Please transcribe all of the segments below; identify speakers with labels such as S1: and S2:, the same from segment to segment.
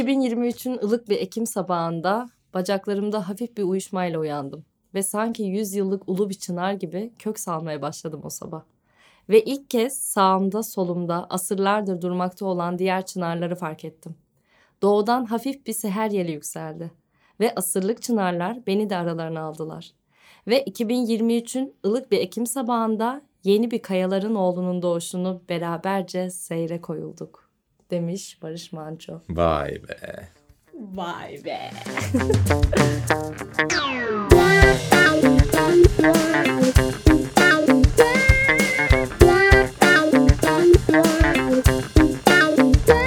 S1: 2023'ün ılık bir Ekim sabahında bacaklarımda hafif bir uyuşmayla uyandım ve sanki 100 yıllık ulu bir çınar gibi kök salmaya başladım o sabah. Ve ilk kez sağımda solumda asırlardır durmakta olan diğer çınarları fark ettim. Doğudan hafif bir seher yeli yükseldi ve asırlık çınarlar beni de aralarına aldılar. Ve 2023'ün ılık bir Ekim sabahında yeni bir kayaların oğlunun doğuşunu beraberce seyre koyulduk demiş Barış Manço.
S2: Vay be.
S3: Vay be.
S4: Thank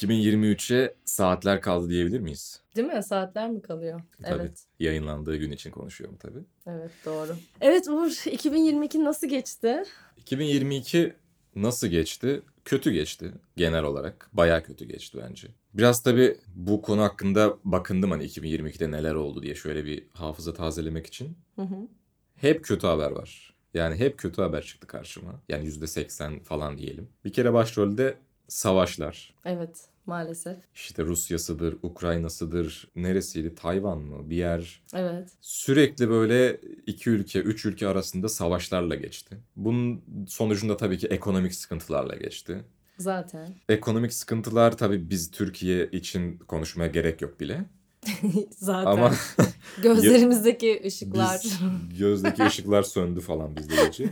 S2: 2023'e saatler kaldı diyebilir miyiz?
S1: Değil mi? Saatler mi kalıyor?
S2: E, Tabii.
S1: Evet.
S2: Yayınlandığı gün için konuşuyorum tabii.
S1: Evet doğru. Evet Uğur 2022 nasıl geçti?
S2: 2022 nasıl geçti? Kötü geçti genel olarak. Bayağı kötü geçti bence. Biraz tabii bu konu hakkında bakındım hani 2022'de neler oldu diye şöyle bir hafıza tazelemek için.
S1: Hı hı.
S2: Hep kötü haber var. Yani hep kötü haber çıktı karşıma. Yani %80 falan diyelim. Bir kere başrolde savaşlar.
S1: Evet maalesef.
S2: İşte Rusya'sıdır, Ukrayna'sıdır, neresiydi? Tayvan mı? Bir yer
S1: Evet.
S2: sürekli böyle iki ülke, üç ülke arasında savaşlarla geçti. Bunun sonucunda tabii ki ekonomik sıkıntılarla geçti.
S1: Zaten.
S2: Ekonomik sıkıntılar tabii biz Türkiye için konuşmaya gerek yok bile.
S1: Zaten.
S2: Ama
S1: Gözlerimizdeki ışıklar.
S2: biz, gözdeki ışıklar söndü falan bizde gece.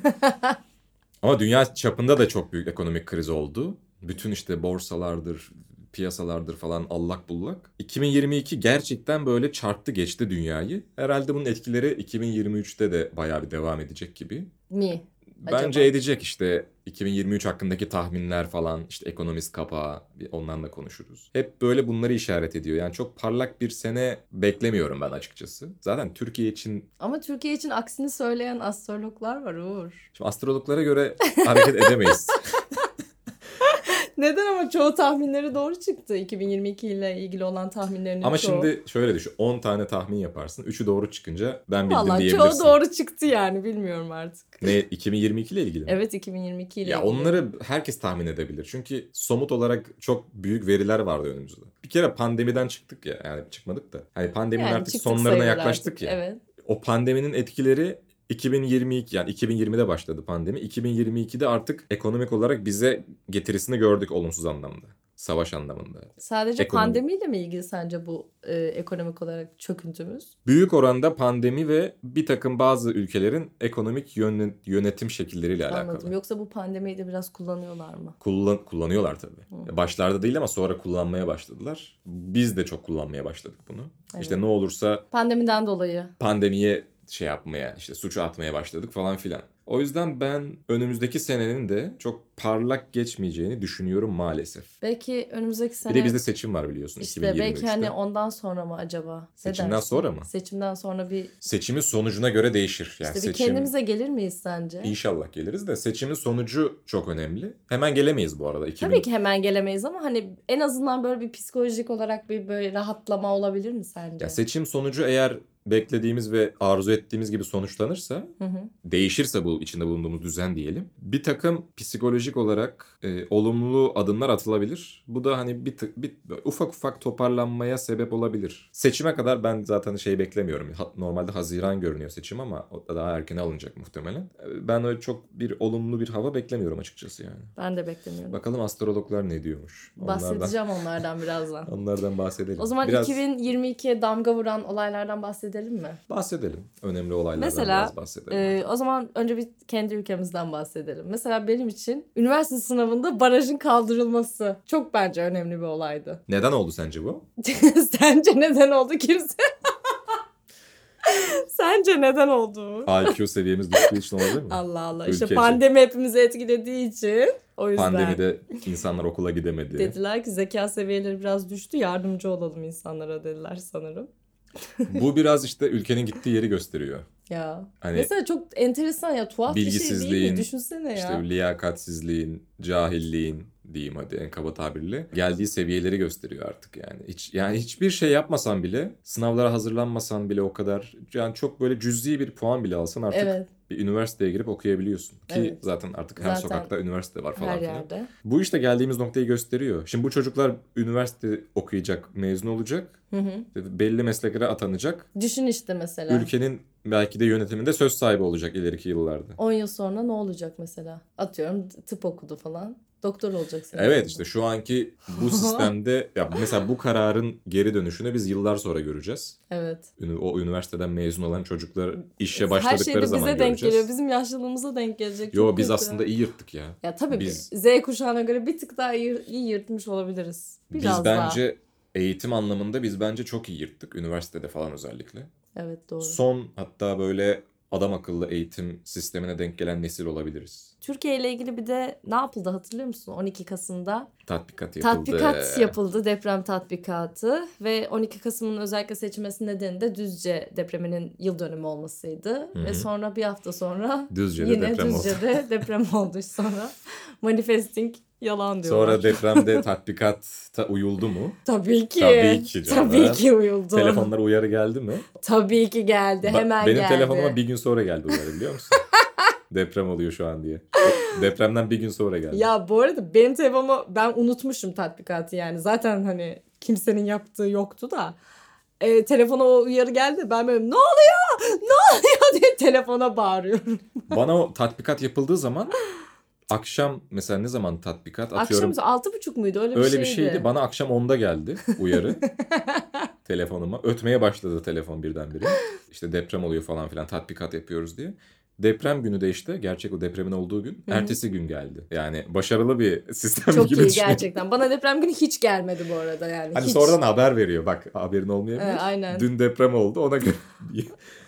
S2: Ama dünya çapında da çok büyük ekonomik kriz oldu. Bütün işte borsalardır, piyasalardır falan allak bullak. 2022 gerçekten böyle çarptı geçti dünyayı. Herhalde bunun etkileri 2023'te de bayağı bir devam edecek gibi.
S1: Mi?
S2: Bence
S1: Acaba?
S2: edecek işte 2023 hakkındaki tahminler falan işte ekonomist kapağı bir ondan da konuşuruz. Hep böyle bunları işaret ediyor. Yani çok parlak bir sene beklemiyorum ben açıkçası. Zaten Türkiye için
S1: Ama Türkiye için aksini söyleyen astrologlar var Uğur.
S2: şimdi astrologlara göre hareket edemeyiz.
S1: Neden ama çoğu tahminleri doğru çıktı. 2022 ile ilgili olan tahminlerin
S2: Ama
S1: çoğu.
S2: şimdi şöyle düşün 10 tane tahmin yaparsın. 3'ü doğru çıkınca ben bildim
S1: Vallahi
S2: diyebilirsin.
S1: çoğu doğru çıktı yani bilmiyorum artık.
S2: Ne 2022 ile ilgili mi?
S1: Evet 2022 ile
S2: Ya
S1: ilgili.
S2: onları herkes tahmin edebilir. Çünkü somut olarak çok büyük veriler vardı önümüzde. Bir kere pandemiden çıktık ya. Yani çıkmadık da. Hani pandeminin
S1: Yani
S2: artık
S1: çıktık
S2: sonlarına
S1: sayılır
S2: yaklaştık
S1: artık.
S2: ya.
S1: Evet.
S2: O pandeminin etkileri 2022 yani 2020'de başladı pandemi. 2022'de artık ekonomik olarak bize getirisini gördük olumsuz anlamda. Savaş anlamında.
S1: Sadece
S2: Ekonomi.
S1: pandemiyle mi ilgili sence bu e, ekonomik olarak çöküntümüz?
S2: Büyük oranda pandemi ve bir takım bazı ülkelerin ekonomik yönle- yönetim şekilleriyle
S1: Anladım.
S2: alakalı.
S1: Yoksa bu pandemiyi de biraz kullanıyorlar mı?
S2: Kullan, kullanıyorlar tabii.
S1: Hı.
S2: Başlarda değil ama sonra kullanmaya başladılar. Biz de çok kullanmaya başladık bunu. İşte
S1: Evet.
S2: ne olursa
S1: Pandemiden dolayı.
S2: pandemiye şey yapmaya, işte suçu atmaya başladık falan filan. O yüzden ben önümüzdeki senenin de çok parlak geçmeyeceğini düşünüyorum maalesef.
S1: Belki önümüzdeki sene
S2: Bir de bizde seçim var biliyorsun
S1: işte
S2: 2023'te.
S1: belki hani ondan sonra mı acaba? Ne
S2: Seçimden
S1: dersin?
S2: sonra mı?
S1: Seçimden sonra bir işte
S2: Seçimin sonucuna göre değişir. Yani
S1: bir
S2: seçim...
S1: kendimize gelir miyiz sence?
S2: İnşallah geliriz de seçimin sonucu çok önemli. Hemen gelemeyiz bu arada. 2000...
S1: Tabii ki hemen gelemeyiz ama hani en azından böyle bir psikolojik olarak bir böyle rahatlama olabilir mi sence?
S2: Ya seçim sonucu eğer beklediğimiz ve arzu ettiğimiz gibi sonuçlanırsa
S1: Hı hı.
S2: değişirse bu içinde bulunduğumuz düzen diyelim. Bir takım psikolojik olarak e, olumlu adımlar atılabilir. Bu da hani bir, tık, bir böyle ufak ufak toparlanmaya sebep olabilir. Seçime kadar ben zaten şey beklemiyorum. Ha- normalde Haziran görünüyor seçim ama o da daha erken alınacak muhtemelen. E, Ben öyle çok bir olumlu bir hava beklemiyorum açıkçası yani.
S1: Ben de beklemiyorum.
S2: Bakalım astrologlar ne diyormuş. Onlardan,
S1: Bahsedeceğim onlardan birazdan.
S2: onlardan bahsedelim.
S1: O zaman
S2: Biraz
S1: 2022'ye damga vuran olaylardan bahsedelim mi?
S2: bahsedelim. Önemli olaylardan
S1: Mesela,
S2: biraz bahsedelim.
S1: Ee, o zaman önce bir kendi ülkemizden bahsedelim. Mesela benim için üniversite sınavında barajın kaldırılması çok bence önemli bir olaydı.
S2: Neden oldu sence bu?
S1: Sence neden oldu kimse? Sence neden oldu?
S2: IQ seviyemiz düştüğü için olabilir mi?
S1: Allah Allah. İşte
S2: Ülkece.
S1: pandemi hepimizi etkilediği için o yüzden
S2: Pandemide insanlar okula gidemedi.
S1: dediler ki zeka seviyeleri biraz düştü yardımcı olalım insanlara dediler sanırım.
S2: Bu biraz işte ülkenin gittiği yeri gösteriyor.
S1: Ya.
S2: Hani
S1: Mesela çok enteresan ya tuhaf bir şey değil
S2: Bilgisizliğin,
S1: mi? Düşünsene ya.
S2: işte liyakatsizliğin, cahilliğin, diyeyim hadi en kaba tabirle geldiği seviyeleri gösteriyor artık yani. Hiç, yani hiçbir şey yapmasan bile sınavlara hazırlanmasan bile o kadar yani çok böyle cüzi bir puan bile alsan artık
S1: evet
S2: bir üniversiteye girip okuyabiliyorsun. Ki
S1: Evet.
S2: zaten artık her
S1: Zaten
S2: sokakta üniversite var falan
S1: her
S2: filan.
S1: yerde.
S2: Bu işte geldiğimiz noktayı gösteriyor. Şimdi bu çocuklar üniversite okuyacak, mezun olacak,
S1: Hı hı.
S2: belli mesleklere atanacak.
S1: Düşün işte mesela.
S2: Ülkenin belki de yönetiminde söz sahibi olacak ileriki yıllarda.
S1: 10 yıl sonra ne olacak mesela? Atıyorum tıp okudu falan. Doktor olacak senin.
S2: Evet işte şu anki bu sistemde ya mesela bu kararın geri dönüşünü biz yıllar sonra göreceğiz.
S1: Evet.
S2: Ünü- O üniversiteden mezun olan çocuklar işe
S1: Her şey de
S2: başladıkları
S1: bize
S2: zaman
S1: denk
S2: göreceğiz.
S1: geliyor. Bizim yaşlılığımıza denk gelecek.
S2: Yo
S1: Çok
S2: biz
S1: kötü.
S2: aslında iyi yırttık ya.
S1: Ya tabii
S2: biz-
S1: Z kuşağına göre bir tık daha iyi, iyi yırtmış olabiliriz. Biraz
S2: biz bence eğitim anlamında biz bence çok iyi yırttık üniversitede falan özellikle.
S1: daha. Evet doğru.
S2: Son hatta böyle adam akıllı eğitim sistemine denk gelen nesil olabiliriz.
S1: Türkiye ile ilgili bir de ne yapıldı hatırlıyor musun? 12 Kasım'da
S2: Tatbikat yapıldı.
S1: tatbikat yapıldı. Deprem tatbikatı ve 12 Kasım'ın özellikle seçilmesi nedeni de Düzce depreminin yıl dönümü olmasıydı.
S2: Hı hı.
S1: Ve sonra bir hafta sonra
S2: Düzce'de
S1: yine
S2: deprem oldu.
S1: Düzce'de deprem oldu sonra. Manifesting yalan diyorlar.
S2: Sonra depremde tatbikata uyuldu mu?
S1: Tabii ki.
S2: Tabii ki canım.
S1: Tabii ki uyuldu.
S2: Telefonlara uyarı geldi mi?
S1: Tabii ki geldi.
S2: Ba-
S1: hemen
S2: Benim
S1: geldi.
S2: telefonuma bir gün sonra geldi uyarı biliyor musun? Deprem oluyor şu an diye. Depremden bir gün sonra geldi.
S1: Ya bu arada benim telefonumu ben unutmuşum tatbikatı yani. Zaten hani kimsenin yaptığı yoktu da. E, telefona o uyarı geldi. Ben böyle ne oluyor? Ne oluyor diye telefona bağırıyorum.
S2: Bana o tatbikat yapıldığı zaman akşam mesela ne zaman tatbikat atıyorum.
S1: Akşam altı buçuk muydu? Öyle bir
S2: Öyle
S1: şeydi.
S2: bir şeydi. Bana akşam 10'da geldi uyarı telefonuma. Ötmeye başladı telefon birdenbire. İşte deprem oluyor falan filan tatbikat yapıyoruz diye. Deprem günü de işte gerçek o depremin olduğu gün
S1: Hı hı.
S2: ertesi gün geldi. Yani başarılı bir sistem
S1: Çok
S2: gibi
S1: iyi
S2: düşünüyorum.
S1: gerçekten. Bana deprem günü hiç gelmedi bu arada yani.
S2: Hani
S1: hiç.
S2: sonradan haber veriyor bak haberin olmayabilir.
S1: Evet, aynen.
S2: Dün deprem oldu ona göre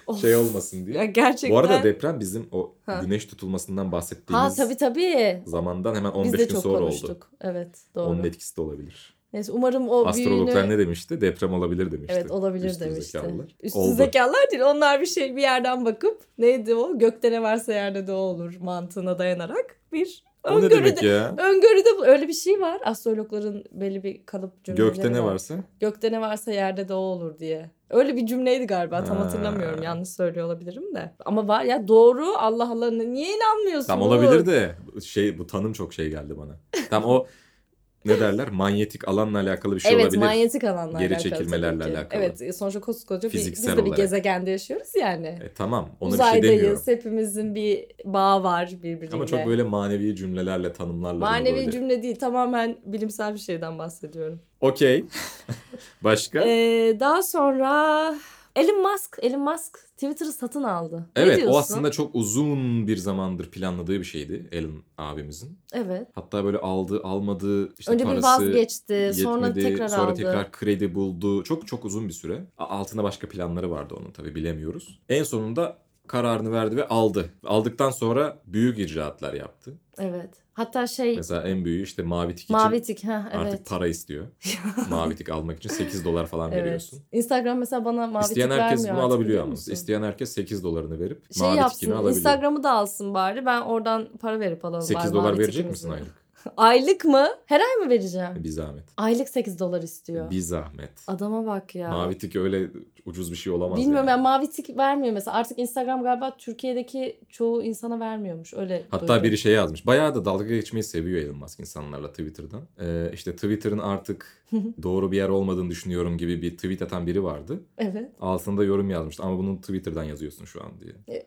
S1: Of.
S2: şey olmasın diye.
S1: Ya gerçekten.
S2: Bu arada deprem bizim o
S1: Ha.
S2: güneş tutulmasından bahsettiğimiz
S1: Ha tabii tabii.
S2: zamandan hemen
S1: Biz
S2: 15
S1: de
S2: gün
S1: çok
S2: sonra oldu.
S1: konuştuk. Evet doğru.
S2: Onun etkisi de olabilir.
S1: Neyse umarım o
S2: Astrologlar
S1: büyüğünü...
S2: ne demişti? Deprem olabilir demişti.
S1: Evet olabilir
S2: Üstün
S1: demişti.
S2: zekalılar.
S1: Üstün
S2: Oldu.
S1: zekalılar değil onlar bir şey bir yerden bakıp neydi o gökte ne varsa yerde de o olur mantığına dayanarak bir
S2: O ne
S1: öngörüde
S2: demek ya?
S1: öngörüde bu- öyle bir şey var. Astrologların belli bir kalıp cümleleri
S2: Gökte ne
S1: var.
S2: varsa.
S1: Gökte ne varsa yerde de o olur diye. Öyle bir cümleydi galiba tam
S2: Ha.
S1: hatırlamıyorum yanlış söylüyor olabilirim de. Ama var ya doğru Allah Allah niye inanmıyorsun?
S2: Tam
S1: oğlum?
S2: olabilir de şey bu tanım çok şey geldi bana. Tam o ne derler? Manyetik alanla alakalı bir şey
S1: evet
S2: olabilir.
S1: manyetik alanla
S2: Geri
S1: alakalı tabii
S2: çekilmelerle
S1: ki.
S2: alakalı.
S1: Evet e, sonuçta koskoca bir, biz
S2: Fiziksel
S1: de bir
S2: olarak.
S1: gezegende yaşıyoruz yani.
S2: E, tamam ona bir şey demiyorum.
S1: Uzaydayız. Hepimizin bir bağı var birbiriyle.
S2: Ama çok böyle manevi cümlelerle tanımlarla. bunu
S1: Manevi
S2: böyle-
S1: cümle değil. Tamamen bilimsel bir şeyden bahsediyorum.
S2: Okey. Başka?
S1: Ee, daha sonra Elon Musk. Elon Musk Twitter'ı satın aldı. Ne
S2: evet
S1: diyorsun?
S2: o aslında çok uzun bir zamandır planladığı bir şeydi Elon abimizin.
S1: Evet.
S2: Hatta böyle aldı almadı işte
S1: Önce
S2: parası
S1: bir vazgeçti. Ee, sonra
S2: yetmedi,
S1: tekrar
S2: sonra
S1: aldı.
S2: tekrar kredi buldu. Çok çok uzun bir süre. A- Altında başka planları vardı onun tabii bilemiyoruz. En sonunda kararını verdi ve aldı. Aldıktan sonra büyük icraatlar yaptı.
S1: Evet. Hatta şey
S2: Mesela en büyüğü işte mavi tik için
S1: mavi tik. Ha,
S2: artık
S1: evet.
S2: para istiyor. mavi tik almak için 8 dolar falan
S1: Evet.
S2: veriyorsun.
S1: Instagram mesela bana mavi
S2: İsteyen
S1: tik vermiyor.
S2: herkes bunu
S1: artık,
S2: alabiliyor
S1: biliyor
S2: ama.
S1: musun?
S2: İsteyen herkes 8 dolarını verip
S1: şey
S2: mavi tikini
S1: yapsın.
S2: alabiliyor.
S1: Instagram'ı da alsın bari. Ben oradan para verip alalım.
S2: 8
S1: bari
S2: dolar
S1: mavi
S2: verecek
S1: tikimizi.
S2: misin aylık?
S1: Aylık mı? Her ay mı vereceğim?
S2: Bir zahmet.
S1: Aylık 8 dolar istiyor.
S2: Bir zahmet.
S1: Adama bak ya.
S2: Mavi tik öyle ucuz bir şey olamaz.
S1: Bilmiyorum
S2: yani.
S1: yani. mavi tik vermiyor mesela. Artık Instagram galiba Türkiye'deki çoğu insana vermiyormuş. Öyle
S2: Hatta
S1: duydum.
S2: biri şey yazmış. Bayağı da dalga geçmeyi seviyor Elon Musk insanlarla Twitter'dan. Ee, işte Twitter'ın artık doğru bir yer olmadığını düşünüyorum gibi bir tweet atan biri vardı.
S1: Evet.
S2: Altında yorum yazmıştı ama bunu Twitter'dan yazıyorsun şu an diye.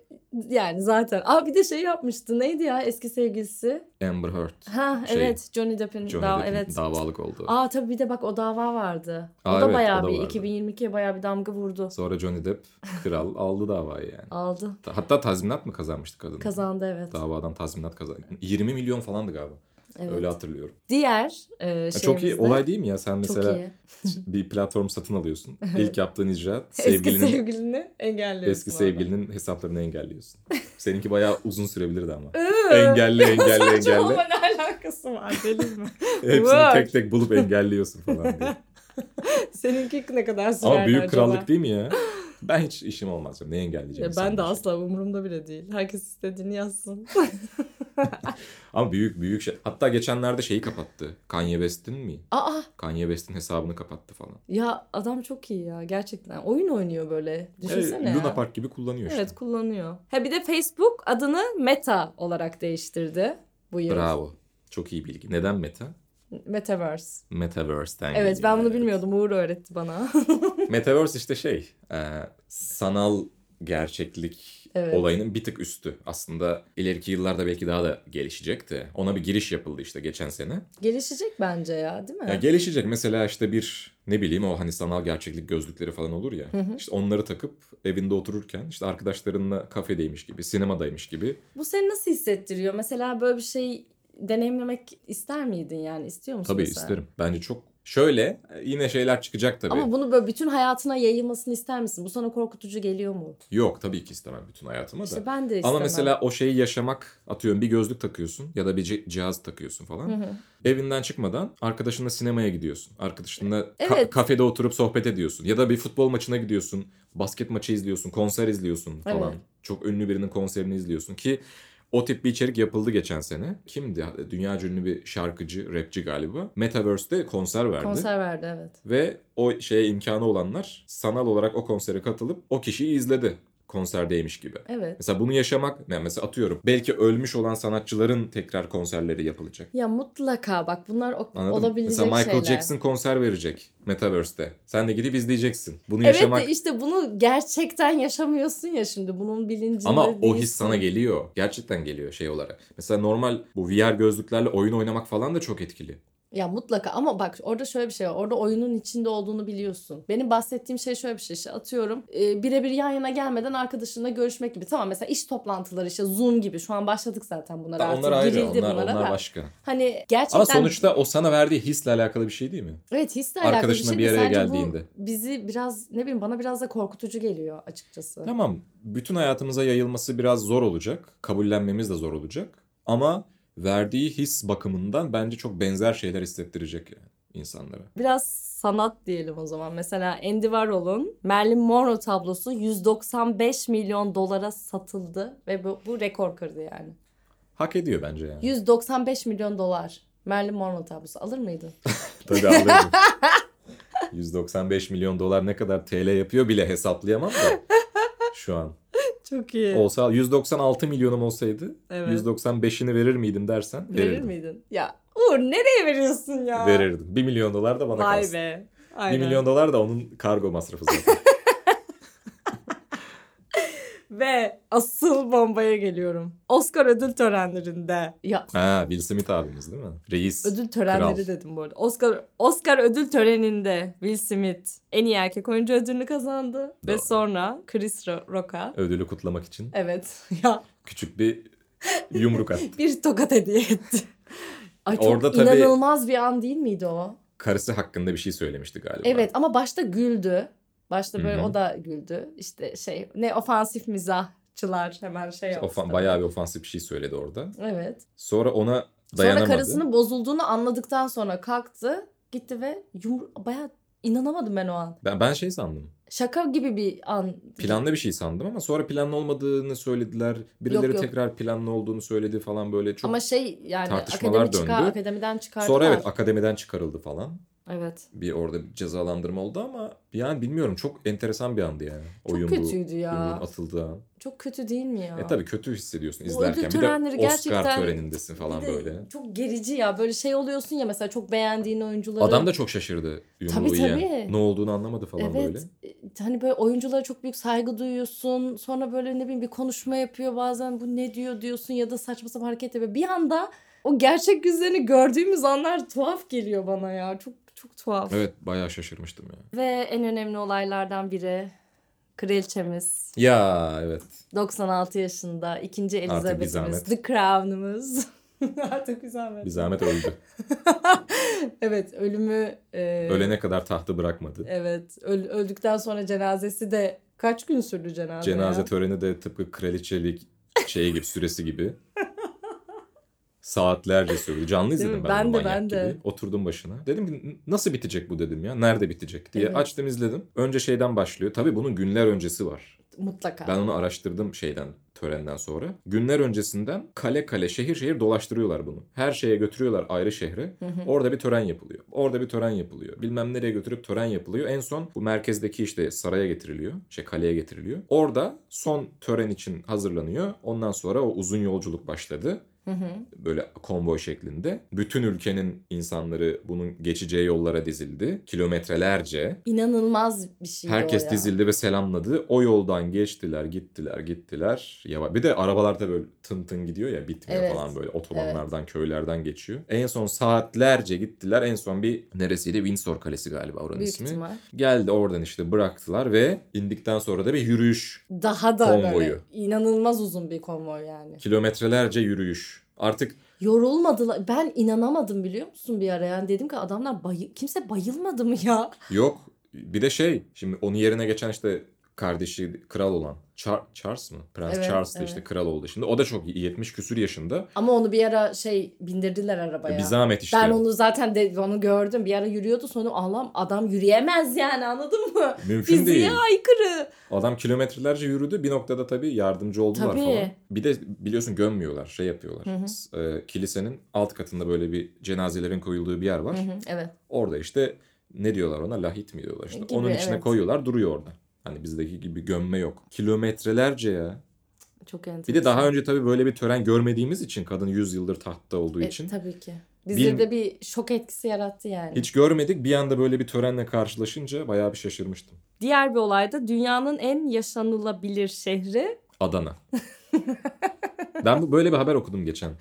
S1: Yani zaten. Aa bir de şey yapmıştı. Neydi ya eski sevgilisi?
S2: Amber Heard.
S1: Ha
S2: Şey,
S1: evet Johnny Depp'in
S2: Johnny
S1: daha
S2: Depp'in
S1: evet.
S2: davalık oldu.
S1: Aa tabii bir de bak o dava vardı. O
S2: Aa,
S1: da
S2: evet,
S1: bayağı
S2: o da
S1: bir
S2: vardı.
S1: 2022'ye bayağı bir damga vurdu.
S2: Sonra Johnny Depp kral aldı davayı yani.
S1: Aldı.
S2: Hatta tazminat mı kazanmıştı kadın?
S1: Kazandı evet.
S2: Davadan tazminat kazandı. 20 milyon falandı galiba.
S1: evet.
S2: Öyle hatırlıyorum.
S1: Diğer e,
S2: Ya
S1: şeyimizde.
S2: çok iyi olay değil mi ya? Sen mesela
S1: Çok iyi.
S2: bir platform satın alıyorsun. İlk yaptığın icraat
S1: Eski
S2: sevgilinin
S1: sevgilini engelliyorsun.
S2: Eski
S1: orada.
S2: sevgilinin hesaplarını engelliyorsun. Seninki bayağı uzun sürebilirdi ama.
S1: Iıı.
S2: Engelle engelle engelle.
S1: Saçmalama ne alakası var deli mi?
S2: Hepsini
S1: Var.
S2: tek tek bulup engelliyorsun falan diye.
S1: Seninki ne kadar sürer
S2: Ama büyük
S1: acaba?
S2: krallık değil mi ya? Ben hiç işim olmaz. canım. Ne engelleyeceğim?
S1: Ya ben de
S2: insanları?
S1: asla umurumda bile değil. Herkes istediğini yazsın.
S2: Ama büyük büyük şey. Hatta geçenlerde şeyi kapattı. Kanye West'in mi?
S1: Aa
S2: Kanye West'in hesabını kapattı falan.
S1: ya adam çok iyi ya gerçekten. Oyun oynuyor böyle. Düşünsene
S2: Evet,
S1: ya.
S2: Şey, Luna Park gibi kullanıyor
S1: Evet kullanıyor. Ha bir de Facebook adını Meta olarak değiştirdi bu yıl.
S2: işte. Bravo. Çok iyi bilgi. Neden meta?
S1: Metaverse.
S2: Metaverse'ten
S1: Evet
S2: geliyor,
S1: ben bunu bilmiyordum. Uğur öğretti bana.
S2: Metaverse işte şey e, sanal gerçeklik
S1: Evet.
S2: olayının bir tık üstü. Aslında ileriki yıllarda belki daha da gelişecek de ona bir giriş yapıldı işte geçen sene.
S1: Gelişecek bence ya değil mi?
S2: Ya gelişecek mesela işte bir ne bileyim o hani sanal gerçeklik gözlükleri falan olur ya.
S1: hı.
S2: İşte onları takıp evinde otururken işte arkadaşlarınla kafedeymiş gibi, sinemadaymış gibi.
S1: Bu seni nasıl hissettiriyor? Mesela böyle bir şey deneyimlemek ister miydin yani? İstiyor musun
S2: Tabii
S1: mesela?
S2: isterim. Bence çok şöyle e, yine şeyler çıkacak tabii.
S1: Ama bunu böyle bütün hayatına yayılmasını ister misin? Bu sana korkutucu geliyor mu?
S2: Yok tabii ki istemem bütün hayatıma da.
S1: İşte ben de istemem.
S2: Ama mesela o şeyi yaşamak atıyorum bir gözlük takıyorsun ya da bir ci- cihaz takıyorsun falan.
S1: Hı hı.
S2: Evinden çıkmadan arkadaşınla sinemaya gidiyorsun. Arkadaşınla ka-
S1: Evet.
S2: kafede oturup sohbet ediyorsun. Ya da bir futbol maçına gidiyorsun. Basket maçı izliyorsun. Konser izliyorsun falan.
S1: Evet.
S2: Çok ünlü birinin konserini izliyorsun ki o tip bir içerik yapıldı geçen sene. Kimdi? Dünya ünlü bir şarkıcı, rapçi galiba. Metaverse'de konser verdi.
S1: konser verdi evet.
S2: Ve o şeye imkanı olanlar sanal olarak o konsere katılıp o kişiyi izledi konserdeymiş gibi.
S1: Evet.
S2: Mesela bunu yaşamak ne mesela atıyorum belki ölmüş olan sanatçıların tekrar konserleri yapılacak.
S1: Ya mutlaka bak bunlar o-
S2: Anladın mı?
S1: olabilecek
S2: Mesela Michael
S1: şeyler.
S2: Jackson konser verecek Metaverse'te. Sen de gidip izleyeceksin. Bunu
S1: Evet
S2: yaşamak
S1: de işte bunu gerçekten yaşamıyorsun ya şimdi bunun bilincinde
S2: ama o his
S1: değilsin.
S2: sana geliyor. Gerçekten geliyor şey olarak. Mesela normal bu VR gözlüklerle oyun oynamak falan da çok etkili.
S1: Ya mutlaka ama bak orada şöyle bir şey var. Orada oyunun içinde olduğunu biliyorsun. Benim bahsettiğim şey şöyle bir şey. İşte atıyorum e, birebir yan yana gelmeden arkadaşınla görüşmek gibi. Tamam mesela iş toplantıları işte Zoom gibi. Şu an başladık zaten bunlara artık.
S2: onlar ayrı.
S1: Girildi
S2: Onlar,
S1: bunlara
S2: onlar
S1: da.
S2: başka.
S1: Hani gerçekten
S2: Ama sonuçta o sana verdiği hisle alakalı bir şey değil mi?
S1: evet hisle alakalı bir
S2: arkadaşınla
S1: şey.
S2: bir
S1: de
S2: araya
S1: sadece bu
S2: geldiğinde.
S1: bizi biraz ne bileyim bana biraz da korkutucu geliyor açıkçası.
S2: Tamam. Bütün hayatımıza yayılması biraz zor olacak. Kabullenmemiz de zor olacak. Ama verdiği his bakımından bence çok benzer şeyler hissettirecek yani insanlara.
S1: Biraz sanat diyelim o zaman. Mesela Andy Warhol'un Marilyn Monroe tablosu 195 milyon dolara satıldı ve bu, bu rekor kırdı yani.
S2: Hak ediyor bence yani.
S1: 195 milyon dolar. Marilyn Monroe tablosu alır mıydın?
S2: Tabii alırım. 195 milyon dolar ne kadar TL yapıyor bile hesaplayamam da şu an.
S1: Çok iyi.
S2: Olsa 196 milyonum olsaydı
S1: Evet.
S2: 195'ini verir miydim dersen
S1: Verir
S2: verirdim.
S1: miydin? Ya Uğur nereye veriyorsun ya?
S2: Verirdim. 1 milyon dolar da bana
S1: Vay
S2: kalsın.
S1: be.
S2: 1
S1: Aynen.
S2: milyon dolar da onun kargo masrafı zaten.
S1: Ve asıl bombaya geliyorum. Oscar ödül törenlerinde. Ya
S2: ha, Will Smith abimiz değil mi? Reis.
S1: ödül törenleri
S2: Kral.
S1: dedim bu arada. Oscar Oscar ödül töreninde Will Smith en iyi erkek oyuncu ödülünü kazandı ve
S2: Doğru.
S1: sonra Chris Ro- Rock'a
S2: Ödülü kutlamak için
S1: evet ya
S2: küçük bir yumruk attı.
S1: bir tokat hediye etti. Ay çok
S2: Orada tabii-
S1: inanılmaz bir an değil miydi o?
S2: Karısı hakkında bir şey söylemişti galiba.
S1: Evet ama başta güldü. Başta böyle
S2: Hı hı.
S1: o da güldü. İşte şey ne ofansif mizahçılar hemen şey yaptı.
S2: Ofan, bayağı bir ofansif bir şey söyledi orada.
S1: Evet.
S2: Sonra ona dayanamadı.
S1: Sonra karısının bozulduğunu anladıktan sonra kalktı. Gitti ve yumru... bayağı inanamadım ben o an.
S2: Ben, ben şey sandım.
S1: Şaka gibi bir an.
S2: Planlı bir şey sandım ama sonra planlı olmadığını söylediler. Birileri
S1: Yok, yok.
S2: tekrar planlı olduğunu söyledi falan böyle çok.
S1: Ama şey yani
S2: tartışmalar
S1: akademi çıkar,
S2: döndü.
S1: akademiden çıkardılar.
S2: sonra evet akademiden çıkarıldı falan.
S1: Evet.
S2: Bir orada bir cezalandırma oldu ama yani bilmiyorum çok enteresan bir andı yani.
S1: Çok
S2: Oyun bu,
S1: kötüydü ya.
S2: yumruğun atıldığı an.
S1: Çok kötü değil mi ya?
S2: E tabii kötü hissediyorsun
S1: Bu
S2: izlerken.
S1: ödül törenleri
S2: bir de Oscar
S1: gerçekten-
S2: törenindesin falan
S1: Bir de
S2: böyle.
S1: Çok gerici ya. Böyle şey oluyorsun ya mesela çok beğendiğin oyuncuları.
S2: Adam da çok şaşırdı yumruğu
S1: Tabii,
S2: yiyen.
S1: tabii.
S2: Ne olduğunu anlamadı falan böyle.
S1: Evet. e, Hani böyle oyunculara çok büyük saygı duyuyorsun. Sonra böyle ne bileyim bir konuşma yapıyor bazen bu ne diyor diyorsun ya da saçma sapan hareket yapıyor. Bir anda o gerçek yüzlerini gördüğümüz anlar tuhaf geliyor bana ya. Çok çok tuhaf.
S2: Evet bayağı şaşırmıştım ya.
S1: Ve en önemli olaylardan biri kraliçemiz
S2: Ya evet.
S1: 96 yaşında ikinci
S2: bir
S1: Elizabeth'imiz
S2: zahmet.
S1: The Crown'umuz. Artık bir zahmet.
S2: Bir zahmet öldü.
S1: Evet ölümü e,
S2: Ölene kadar tahtı bırakmadı.
S1: Evet. öl- öldükten sonra cenazesi de kaç gün sürdü cenaze?
S2: Cenaze
S1: ya?
S2: töreni de tıpkı kraliçelik şeyi gibi süresi gibi. Saatlerce sürdü. Canlı
S1: Değil mi?
S2: izledim ben,
S1: Ben
S2: ben
S1: de,
S2: manyak
S1: ben de.
S2: gibi. Oturdum başına. Dedim ki "N- nasıl bitecek bu dedim ya. Nerede bitecek diye
S1: Evet.
S2: açtım izledim. Önce şeyden başlıyor. Tabii bunun günler öncesi var.
S1: Mutlaka.
S2: Ben onu araştırdım şeyden. törenden sonra. Günler öncesinden kale kale şehir şehir dolaştırıyorlar bunu. Her şeye götürüyorlar ayrı şehre.
S1: Hı hı.
S2: Orada bir tören yapılıyor. Orada bir tören yapılıyor. Bilmem nereye götürüp tören yapılıyor. En son bu merkezdeki işte saraya getiriliyor. Şey kaleye getiriliyor. Orada son tören için hazırlanıyor. Ondan sonra o uzun yolculuk başladı
S1: Hı hı.
S2: böyle konvoy şeklinde. Bütün ülkenin insanları bunun geçeceği yollara dizildi. Kilometrelerce.
S1: İnanılmaz bir şey.
S2: Herkes
S1: o ya.
S2: dizildi ve selamladı. O yoldan geçtiler, gittiler, gittiler. Yavaş. Bir de arabalar da böyle tın tın gidiyor ya bitmiyor
S1: Evet.
S2: falan böyle otobanlardan, köylerden geçiyor. En son saatlerce gittiler. En son bir neresiydi? Windsor Kalesi galiba oranın
S1: Büyük
S2: ismi.
S1: ihtimal.
S2: Geldi oradan işte bıraktılar ve indikten sonra da bir yürüyüş.
S1: Daha da
S2: Konvoyu.
S1: böyle inanılmaz uzun bir konvoy yani.
S2: Kilometrelerce yürüyüş. Artık
S1: Yorulmadılar. Ben inanamadım biliyor musun bir ara yani dedim ki adamlar bayı kimse bayılmadı mı ya?
S2: Yok. Bir de şey şimdi onun yerine geçen işte kardeşi kral olan Char- Charles mı? Prens
S1: Evet,
S2: Charles da
S1: evet.
S2: işte kral oldu şimdi. O da çok iyi, 70 küsür yaşında.
S1: Ama onu bir ara şey bindirdiler arabaya.
S2: Bir zahmet E, işte.
S1: Ben onu zaten de, onu gördüm. Bir ara yürüyordu sonra Allah'ım adam yürüyemez yani anladın mı?
S2: Mümkün değil.
S1: Fiziğe aykırı.
S2: Adam kilometrelerce yürüdü. Bir noktada tabii yardımcı oldular
S1: Tabii.
S2: falan. Bir de biliyorsun gömmüyorlar. Şey yapıyorlar.
S1: Hı hı.
S2: S- e, kilisenin alt katında böyle bir cenazelerin koyulduğu bir yer var.
S1: Hı hı, evet.
S2: Orada işte ne diyorlar ona? Lahit mi diyorlar işte.
S1: E, Gibi,
S2: Onun içine
S1: evet.
S2: koyuyorlar duruyor orada. Hani bizdeki gibi gömme yok. Kilometrelerce ya.
S1: Çok enteresan. E,
S2: Bir de daha önce tabii böyle bir tören görmediğimiz için kadın 100 yıldır tahtta olduğu
S1: E,
S2: için
S1: tabii ki. Bizde
S2: Bil-
S1: de bir şok etkisi yarattı yani.
S2: hiç görmedik. Bir anda böyle bir törenle karşılaşınca bayağı bir şaşırmıştım.
S1: Diğer bir olayda dünyanın en yaşanılabilir şehri
S2: Adana. ben bu böyle bir haber okudum geçen.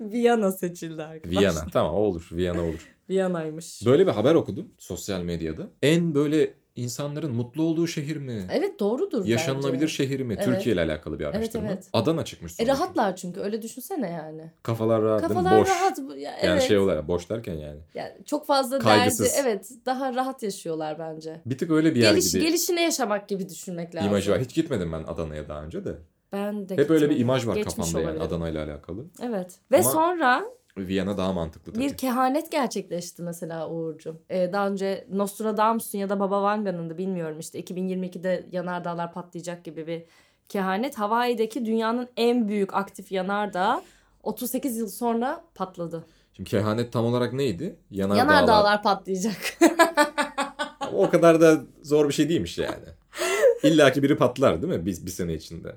S1: Viyana seçildi arkadaşlar.
S2: Viyana. tamam o olur. Viyana olur.
S1: Viyana'ymış.
S2: Böyle bir haber okudum sosyal medyada. En böyle insanların mutlu olduğu şehir mi?
S1: Evet doğrudur
S2: Yaşanılabilir
S1: bence.
S2: şehir mi?
S1: Evet.
S2: Türkiye ile alakalı bir araştırma.
S1: evet.
S2: Adana çıkmış.
S1: E
S2: sonuçta.
S1: rahatlar çünkü öyle düşünsene yani.
S2: Kafalar rahat değil mi?
S1: Kafalar
S2: Boş.
S1: rahat. bu- Ya,
S2: Yani
S1: evet.
S2: şey olarak boş derken yani.
S1: Yani çok fazla
S2: Kaygısız.
S1: derdi. Evet daha rahat yaşıyorlar bence.
S2: Bir tık öyle bir yer
S1: Geliş,
S2: gibi
S1: gelişine yaşamak gibi düşünmek lazım.
S2: imajı var. Hiç gitmedim ben Adana'ya daha önce de.
S1: Ben de
S2: Hep öyle bir
S1: gitmedim.
S2: imaj var
S1: Geçmiş
S2: kafamda yani
S1: olabilir.
S2: Adana ile alakalı.
S1: Evet. Ve
S2: Ama-
S1: sonra
S2: Viyana daha mantıklı tabii.
S1: Bir kehanet gerçekleşti mesela Uğur'cum. Ee, daha önce Nostradamus'un ya da Baba Vanga'nın da bilmiyorum işte 2022'de yanardağlar patlayacak gibi bir kehanet. Hawaii'deki dünyanın en büyük aktif yanardağı 38 yıl sonra patladı.
S2: Şimdi kehanet tam olarak neydi? Yanardağlar.
S1: Yanardağlar, patlayacak.
S2: O kadar da zor bir şey değilmiş yani. İlla ki biri patlar değil mi biz bir sene içinde?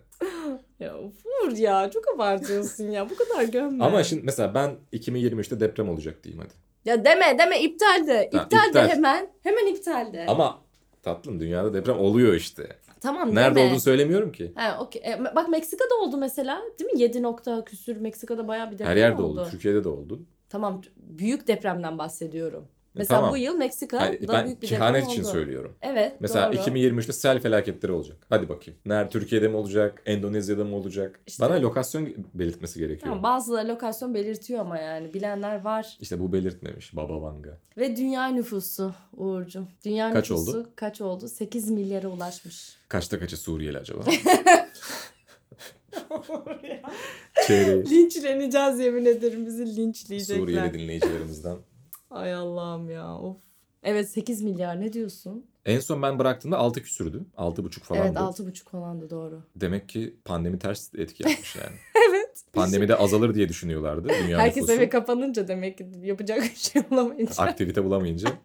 S1: ya Uğur ya çok abartıyorsun ya bu kadar gömme.
S2: Ama şimdi mesela ben 2023'te deprem olacak diyeyim hadi.
S1: Ya deme deme iptal de.
S2: Ha,
S1: İptal, de
S2: iptal.
S1: hemen. Hemen iptal de.
S2: Ama tatlım dünyada deprem oluyor işte.
S1: tamam
S2: Nerede
S1: deme.
S2: olduğunu söylemiyorum ki.
S1: Ha, okey. E, bak Meksika'da oldu mesela değil mi? 7 nokta küsür Meksika'da bayağı bir deprem
S2: Her yerde oldu. Türkiye'de de oldu.
S1: Tamam t- büyük depremden bahsediyorum.
S2: E,
S1: Mesela
S2: tamam.
S1: bu yıl Meksika'da
S2: Hayır, ben
S1: büyük bir deprem oldu.
S2: kehanet için söylüyorum.
S1: Evet
S2: Mesela
S1: doğru.
S2: 2023'te sel felaketleri olacak. Hadi bakayım. Nerede Türkiye'de mi olacak? Endonezya'da mı olacak?
S1: İşte-
S2: Bana lokasyon belirtmesi gerekiyor.
S1: Tamam, bazıları lokasyon belirtiyor ama yani bilenler var.
S2: İşte bu belirtmemiş Baba Vanga.
S1: Ve dünya nüfusu Uğur'cum. Dünya
S2: Kaç
S1: nüfusu
S2: oldu?
S1: kaç oldu? 8 milyara ulaşmış.
S2: Kaçta kaça Suriyeli acaba? Çeyreği.
S1: Linçleneceğiz yemin ederim bizi linçleyecekler.
S2: Suriyeli dinleyicilerimizden.
S1: Ay Allah'ım ya of. Evet 8 milyar ne diyorsun?
S2: En son ben bıraktığımda 6 küsürdü. 6,5 falandı.
S1: evet 6,5 falandı doğru.
S2: Demek ki pandemi ters etki yapmış yani. evet. Pandemide azalır diye düşünüyorlardı dünya
S1: Herkes
S2: nüfusu.
S1: eve kapanınca demek ki yapacak bir şey olamayacak.
S2: Aktivite bulamayınca.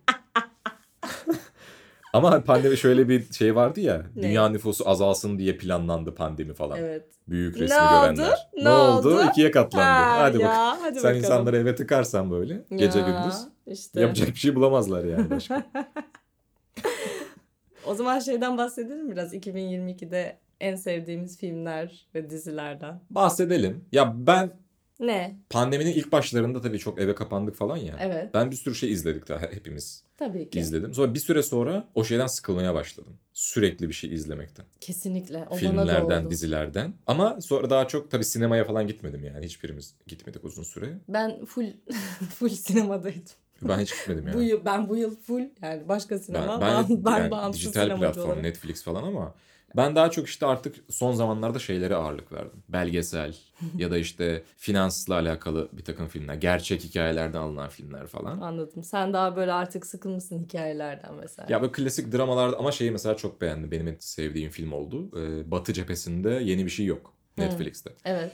S2: Ama pandemi şöyle bir şey vardı ya.
S1: Ne?
S2: Dünya nüfusu azalsın diye planlandı pandemi falan.
S1: Evet.
S2: Büyük
S1: Ne
S2: resmi
S1: oldu?
S2: görenler.
S1: Ne
S2: oldu?
S1: oldu?
S2: İkiye katlandı.
S1: Ha,
S2: Hadi
S1: ya,
S2: bak.
S1: hadi
S2: Sen
S1: bakalım.
S2: insanları eve tıkarsan böyle gece
S1: Ya,
S2: gündüz.
S1: işte.
S2: Yapacak bir şey bulamazlar yani başka.
S1: O zaman şeyden bahsedelim biraz 2022'de en sevdiğimiz filmler ve dizilerden.
S2: Bahsedelim. Ya ben
S1: Ne?
S2: pandeminin ilk başlarında tabii çok eve kapandık falan ya.
S1: Evet.
S2: Ben bir sürü şey izledik daha hepimiz
S1: Tabii ki.
S2: izledim. Sonra bir süre sonra o şeyden sıkılmaya başladım. Sürekli bir şey izlemekten.
S1: Kesinlikle. O bana da
S2: Filmlerden,
S1: oldu.
S2: dizilerden. Ama sonra daha çok tabii sinemaya falan gitmedim yani. Hiçbirimiz gitmedik uzun süre.
S1: Ben full full sinemadaydım.
S2: Ben hiç gitmedim yani.
S1: Bu yıl, ben bu yıl full yani başka sinema,
S2: Ben,
S1: ben,
S2: ben,
S1: ben,
S2: yani
S1: bağımsız
S2: dijital
S1: sinemacı
S2: platform
S1: olarak.
S2: Netflix falan ama ben daha çok işte artık son zamanlarda şeylere ağırlık verdim. Belgesel ya da işte finansla alakalı bir takım filmler, gerçek hikayelerden alınan filmler falan.
S1: Anladım. Sen daha böyle artık sıkılmışsın hikayelerden mesela.
S2: Ya böyle klasik dramalarda ama şeyi mesela çok beğendim. Benim en sevdiğim film oldu. Ee, Batı cephesinde yeni bir şey yok Netflix'te.
S1: Evet.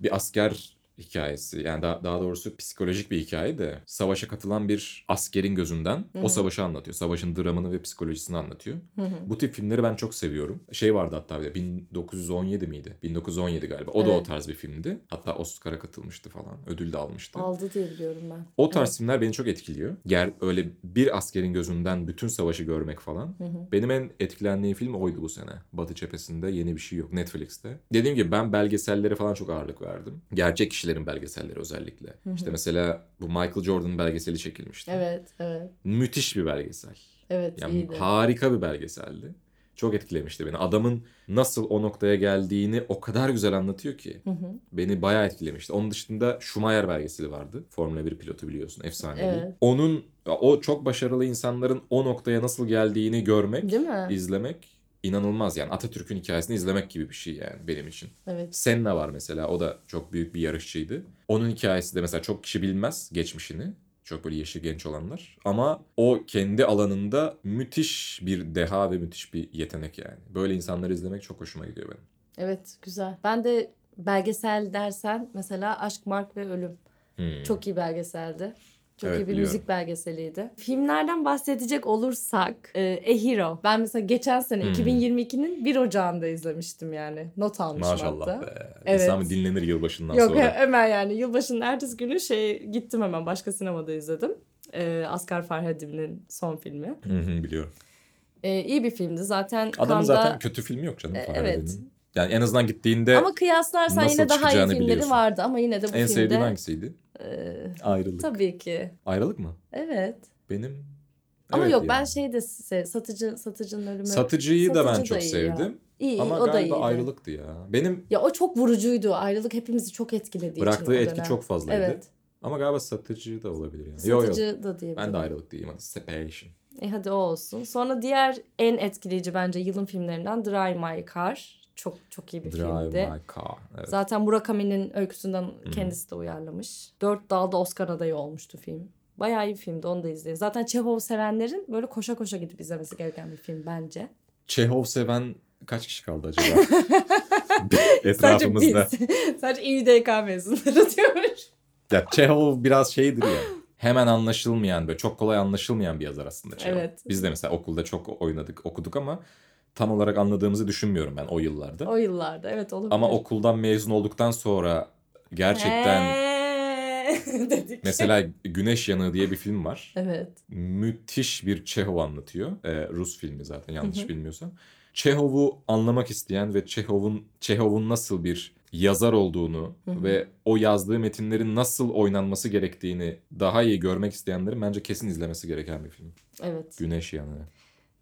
S2: bir asker hikayesi yani daha, daha doğrusu psikolojik bir hikaye de savaşa katılan bir askerin gözünden
S1: Hı
S2: o
S1: hı.
S2: savaşı anlatıyor. Savaşın dramını ve psikolojisini anlatıyor.
S1: Hı hı.
S2: Bu tip filmleri ben çok seviyorum. Şey vardı hatta bir de 1917 miydi? 1917 galiba. O da o
S1: Evet.
S2: tarz bir filmdi. Hatta Oscar'a katılmıştı falan. Ödül de almıştı.
S1: Aldı diye biliyorum ben.
S2: O tarz filmler beni çok etkiliyor. Ger öyle bir askerin gözünden bütün savaşı görmek falan.
S1: Hı hı.
S2: Benim en etkilendiğim film oydu bu sene. Batı cephesinde yeni bir şey yok Netflix'te. Dediğim gibi ben belgesellere falan çok ağırlık verdim. Gerçek kişilerin belgeselleri özellikle.
S1: hı.
S2: İşte mesela bu Michael Jordan belgeseli çekilmişti.
S1: Evet, evet.
S2: Müthiş bir belgesel.
S1: Evet,
S2: Yani
S1: iyiydi.
S2: harika bir belgeseldi. Çok etkilemişti beni. Adamın nasıl o noktaya geldiğini o kadar güzel anlatıyor ki.
S1: Hı hı.
S2: Beni bayağı etkilemişti. Onun dışında Schumacher belgeseli vardı. Formula 1 pilotu biliyorsun. Efsanevi.
S1: Evet.
S2: Onun o çok başarılı insanların o noktaya nasıl geldiğini görmek
S1: Değil mi?
S2: izlemek inanılmaz yani Atatürk'ün hikayesini izlemek gibi bir şey yani benim için.
S1: Evet.
S2: Senna var mesela o da çok büyük bir yarışçıydı. Onun hikayesi de mesela çok kişi bilmez geçmişini. Çok böyle yaşı genç olanlar. Ama o kendi alanında müthiş bir deha ve müthiş bir yetenek yani. Böyle insanları izlemek çok hoşuma gidiyor benim.
S1: Evet, güzel. Ben de belgesel dersen mesela Aşk, Mark ve Ölüm.
S2: Hmm.
S1: Çok iyi belgeseldi. Çok
S2: Evet,
S1: iyi bir
S2: biliyorum.
S1: müzik belgeseliydi. Filmlerden bahsedecek olursak e, A Hero. Ben mesela geçen sene
S2: Hmm.
S1: 2022'nin 1 Ocağı'nda izlemiştim yani. Not almışım hatta.
S2: Maşallah be.
S1: Evet.
S2: İnsan bir dinlenir yılbaşından
S1: Yok
S2: sonra.
S1: he- hemen yani yılbaşının ertesi günü şey gittim hemen başka sinemada izledim. Ee, Asgar Farhadim'in son filmi.
S2: Hı hı, biliyorum.
S1: Ee, iyi bir filmdi zaten.
S2: Adamın
S1: Cannes'da-
S2: zaten kötü filmi yok canım.
S1: E,
S2: Fahrettin'in.
S1: evet.
S2: Yani en azından gittiğinde
S1: Ama kıyaslarsan
S2: nasıl
S1: yine daha iyi
S2: çıkacağını
S1: filmleri
S2: biliyorsun.
S1: vardı ama yine de bu
S2: en sevdiğin
S1: filmde
S2: hangisiydi?
S1: e,
S2: Ayrılık.
S1: tabii ki.
S2: Ayrılık mı?
S1: Evet.
S2: Benim
S1: Ama
S2: Evet
S1: yok
S2: ya.
S1: ben şey de se- satıcı satıcının ölümü.
S2: satıcıyı da ben
S1: Satıcı
S2: çok
S1: da iyi
S2: sevdim.
S1: iyi,
S2: Ama
S1: o da
S2: galiba
S1: iyiydi.
S2: ayrılıktı ya. Benim
S1: Ya o çok vurucuydu. Ayrılık hepimizi çok etkilediği için.
S2: bıraktığı
S1: o
S2: etki
S1: dönem.
S2: çok fazlaydı.
S1: Evet.
S2: Ama galiba satıcı da olabilir yani. Yo
S1: Satıcı
S2: yo.
S1: da diyebilirim.
S2: Ben de ayrılık diyeyim hadi. Separation.
S1: E hadi o olsun. Sonra diğer en etkileyici bence yılın filmlerinden Drive My Car. Çok çok iyi bir filmdi.
S2: Drive my car. Evet.
S1: Zaten Murakami'nin öyküsünden kendisi de uyarlamış. Dört dalda Oscar adayı olmuştu film. Bayağı iyi bir filmdi onu da izleyin. Zaten Çehov sevenlerin böyle koşa koşa gidip izlemesi gereken bir film bence.
S2: Çehov seven kaç kişi kaldı acaba?
S1: Sadece biz.
S2: Etrafımızda.
S1: Sadece İDK mezunları diyormuş.
S2: ya Çehov biraz şeydir ya. Hemen anlaşılmayan böyle çok kolay anlaşılmayan bir yazar aslında Çehov.
S1: Evet.
S2: Biz de mesela okulda çok oynadık okuduk ama tam olarak anladığımızı düşünmüyorum ben o yıllarda.
S1: O yıllarda evet olabilir.
S2: Ama okuldan mezun olduktan sonra gerçekten
S1: Eee, dedik.
S2: mesela Güneş Yanığı diye bir film var.
S1: Evet.
S2: Müthiş bir Çehov anlatıyor. Ee, Rus filmi zaten yanlış bilmiyorsam. Çehov'u anlamak isteyen ve Çehov'un Çehov'un nasıl bir yazar olduğunu ve o yazdığı metinlerin nasıl oynanması gerektiğini daha iyi görmek isteyenlerin bence kesin izlemesi gereken bir film.
S1: Evet.
S2: Güneş Yanığı.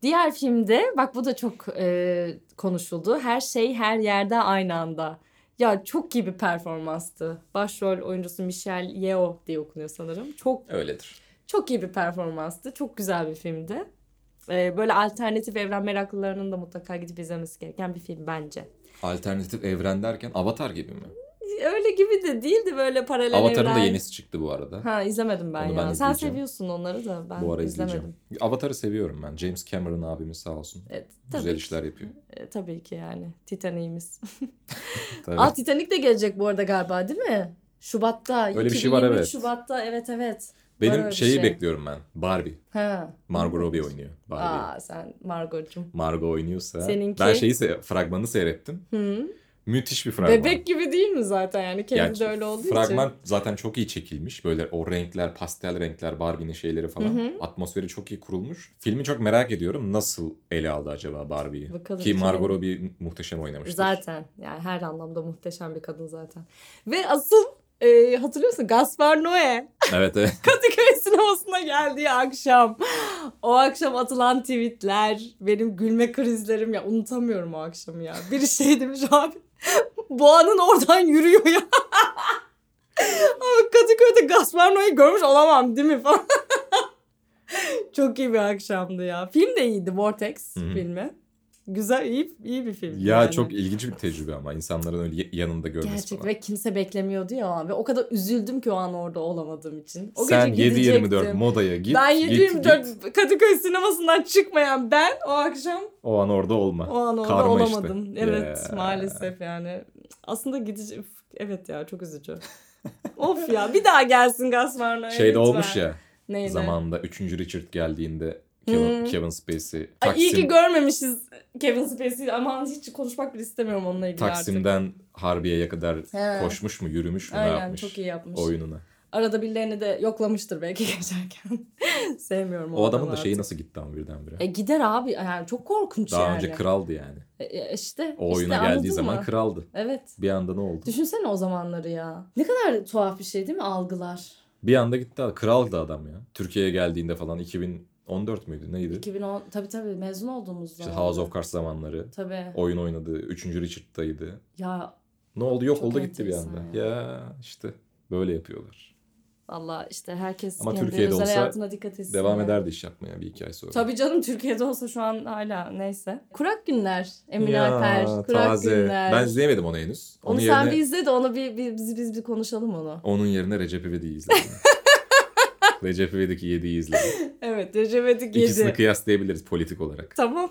S1: Diğer filmde bak bu da çok e, konuşuldu. Her şey her yerde aynı anda. Ya çok iyi bir performanstı. Başrol oyuncusu Michelle Yeoh diye okunuyor sanırım. Çok
S2: Öyledir.
S1: çok iyi bir performanstı. Çok güzel bir filmdi. E, böyle alternatif evren meraklılarının da mutlaka gidip izlemesi gereken bir film bence.
S2: Alternatif evren derken Avatar gibi mi?
S1: Öyle gibi de değildi böyle paralel
S2: Avatar'ın
S1: evren.
S2: da yenisi çıktı bu arada.
S1: Ha izlemedim ben
S2: Onu
S1: ya.
S2: ben
S1: Sen
S2: izleyeceğim.
S1: seviyorsun onları da ben
S2: bu ara
S1: izlemedim.
S2: izleyeceğim. Avatar'ı seviyorum ben. James Cameron abimiz sağ olsun.
S1: Evet, tabii,
S2: Güzel işler yapıyor.
S1: e, tabii ki yani Titanic'imiz.
S2: Tabii.
S1: Aa Titanic de gelecek bu arada galiba değil mi? Şubat'ta.
S2: Öyle bir şey var,
S1: 2023
S2: evet.
S1: Şubat'ta evet evet.
S2: Benim
S1: Var öyle bir
S2: şeyi
S1: şey.
S2: bekliyorum ben. Barbie.
S1: Ha.
S2: Margot Robbie oynuyor. Barbie.
S1: Aa sen Margot'cum.
S2: Margot oynuyorsa.
S1: Seninki?
S2: Ben şeyi se- fragmanı seyrettim.
S1: Hı.
S2: Müthiş bir fragman.
S1: Bebek gibi değil mi zaten yani kendi
S2: Yani
S1: de öyle olduğu
S2: Fragman
S1: için.
S2: zaten çok iyi çekilmiş. Böyle o renkler, pastel renkler, Barbie'nin şeyleri falan.
S1: Hı
S2: Atmosferi çok iyi kurulmuş. Filmi çok merak ediyorum. Nasıl ele aldı acaba Barbie'yi?
S1: Bakalım
S2: Ki
S1: kim-
S2: Margot Robbie muhteşem oynamıştır.
S1: Zaten yani her anlamda muhteşem bir kadın zaten. Ve asıl e, hatırlıyor musun? Gaspar Noé
S2: Evet evet.
S1: Kadıköy sinemasına geldiği akşam. O akşam atılan tweetler, benim gülme krizlerim ya unutamıyorum o akşamı ya. Biri şey demiş abi, boğanın oradan yürüyor ya. Abi Kadıköy'de Gaspar Noé'yi görmüş olamam değil mi falan. Çok iyi bir akşamdı ya. Film de iyiydi Vortex
S2: Hı hı.
S1: filmi. Güzel iyi iyi bir film.
S2: Ya
S1: yani.
S2: çok ilginç bir tecrübe ama insanların öyle yanında görmesi
S1: Gerçek
S2: falan.
S1: ve kimse beklemiyordu ya abi. O kadar üzüldüm ki o an orada olamadığım için. O
S2: Sen
S1: gece
S2: 7-24
S1: gidecektim.
S2: modaya git.
S1: ben
S2: git,
S1: 724
S2: git.
S1: Kadıköy sinemasından çıkmayan ben o akşam
S2: O an orada olma.
S1: o an orada
S2: Ah, Karma işte.
S1: olamadım. Evet
S2: Ya.
S1: maalesef yani. Aslında gideceğim. Evet ya çok üzücü. of ya bir daha gelsin Gasmarna.
S2: Şeyde Şey olmuş ya
S1: Neydi?
S2: zamanında 3. Richard geldiğinde Kevin,
S1: Hmm.
S2: Kevin Spacey Taksim,
S1: Ay, iyi ki görmemişiz Kevin Spacey'i. Aman hiç konuşmak bile istemiyorum onunla ilgili artık.
S2: Taksim'den Harbiye'ye kadar
S1: He.
S2: koşmuş mu yürümüş mü ne
S1: Aynen
S2: yapmış
S1: çok iyi yapmış.
S2: oyununa.
S1: Arada birilerini de yoklamıştır belki geçerken. Sevmiyorum
S2: O adamın da
S1: adamı
S2: şeyi
S1: artık.
S2: nasıl gitti ama birdenbire.
S1: E gider abi yani çok korkunç
S2: Daha
S1: yani.
S2: önce kraldı yani.
S1: E, e, işte
S2: O
S1: işte
S2: oyuna
S1: anladın
S2: geldiği
S1: mı?
S2: zaman kraldı.
S1: Evet.
S2: Bir anda ne oldu?
S1: Düşünsene o zamanları ya. Ne kadar tuhaf bir şey değil mi algılar?
S2: Bir anda gitti. Kraldı adam ya. Türkiye'ye geldiğinde falan 2014 müydü neydi?
S1: 2010 tabii tabii mezun olduğumuzda.
S2: İşte House of Cards zamanları.
S1: Tabii.
S2: Oyun oynadı. 3. Richard'daydı.
S1: Ya
S2: Ne oldu? Yok
S1: Çok
S2: oldu gitti bir
S1: enteresan
S2: anda. Ya. işte böyle yapıyorlar.
S1: valla işte herkes
S2: Ama
S1: kendi
S2: Türkiye'de
S1: özel
S2: olsa
S1: hayatına dikkat etsin.
S2: Devam
S1: ya.
S2: ederdi iş yapmaya bir iki ay sonra.
S1: Tabii canım Türkiye'de olsa şu an hala neyse. Kurak Günler, Emine
S2: Ya,
S1: Alper, Kurak Günler.
S2: Ben izleyemedim onu henüz. Onun
S1: onu
S2: yerine,
S1: sen bir izle de onu bir, bir- biz, biz bir konuşalım onu.
S2: onun yerine Recep İvedik'i izledim. Recep İvedik 7'yi izledim.
S1: Evet Recep İvedik
S2: İkisini
S1: yedi.
S2: kıyaslayabiliriz politik olarak.
S1: Tamam.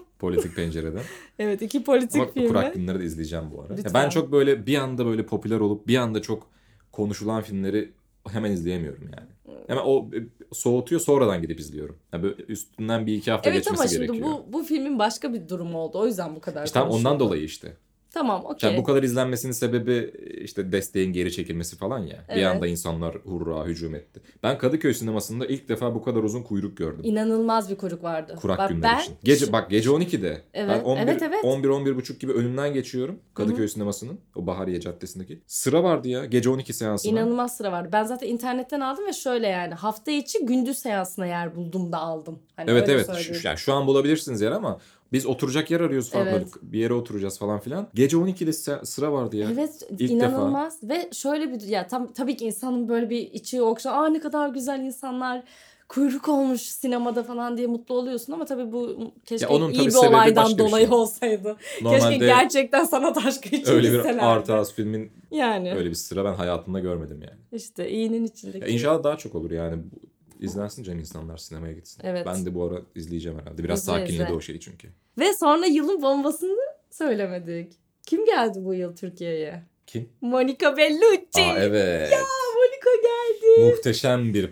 S2: Politik pencereden.
S1: Evet iki politik
S2: Ama
S1: filmi.
S2: kurak günleri de izleyeceğim bu ara. Ya
S1: Lütfen.
S2: ben çok böyle bir anda böyle popüler olup bir anda çok konuşulan filmleri hemen izleyemiyorum yani.
S1: Hmm.
S2: Hemen o e, soğutuyor sonradan gidip izliyorum. Ya böyle üstünden bir iki hafta
S1: Evet
S2: geçmesi
S1: ama şimdi
S2: gerekiyor.
S1: bu, bu filmin başka bir durumu oldu. O yüzden bu kadar
S2: İşte tam ondan
S1: konuşuldu.
S2: dolayı işte.
S1: Tamam
S2: Yani
S1: okey.
S2: bu kadar izlenmesinin sebebi e, işte desteğin geri çekilmesi falan ya. Bir
S1: Evet.
S2: anda insanlar hurra hücum etti. Ben Kadıköy sinemasında ilk defa bu kadar uzun kuyruk gördüm.
S1: İnanılmaz bir kuruk vardı.
S2: Kurak
S1: Bak
S2: günler
S1: ben
S2: için. Gece bak gece 12'de.
S1: Evet,
S2: ben 11,
S1: evet, evet.
S2: 11 11 buçuk gibi önünden geçiyorum Kadıköy sinemasının o Bahariye Caddesi'ndeki. Sıra vardı ya gece 12 seansına.
S1: inanılmaz sıra vardı. Ben zaten internetten aldım ve şöyle yani hafta içi gündüz seansına yer buldum da aldım. Hani
S2: evet
S1: öyle
S2: evet. Şu,
S1: söyleyeyim.
S2: yani şu an bulabilirsiniz yer ama biz oturacak yer arıyoruz falan.
S1: Evet.
S2: Böyle Bir yere oturacağız falan filan. Gece 12'de se- sıra vardı ya.
S1: Evet
S2: İlk
S1: inanılmaz ve şöyle bir ya tam tabii ki insanın böyle bir içi okşan aa ne kadar güzel insanlar kuyruk olmuş sinemada falan diye mutlu oluyorsun ama tabii bu keşke
S2: Ya onun
S1: iyi
S2: tabii
S1: bir
S2: sebebi
S1: olaydan
S2: başka bir şey.
S1: dolayı olsaydı. Keşke
S2: Normalde
S1: gerçekten sanat aşkı için
S2: öyle bir
S1: gitselerdi.
S2: art house filmin
S1: Yani
S2: öyle bir sıra ben hayatımda görmedim yani.
S1: işte iyinin içindeki.
S2: Ya inşallah daha çok olur yani. Bu- İzlensin canım insanlar sinemaya gitsin.
S1: Evet.
S2: Ben de bu ara izleyeceğim herhalde. Biraz
S1: İzle,
S2: sakinledi
S1: izle.
S2: o şey çünkü.
S1: Ve sonra yılın bombasını söylemedik. Kim geldi bu yıl Türkiye'ye?
S2: Kim?
S1: Monica Bellucci.
S2: Aa evet.
S1: Monica geldi.
S2: Muhteşem bir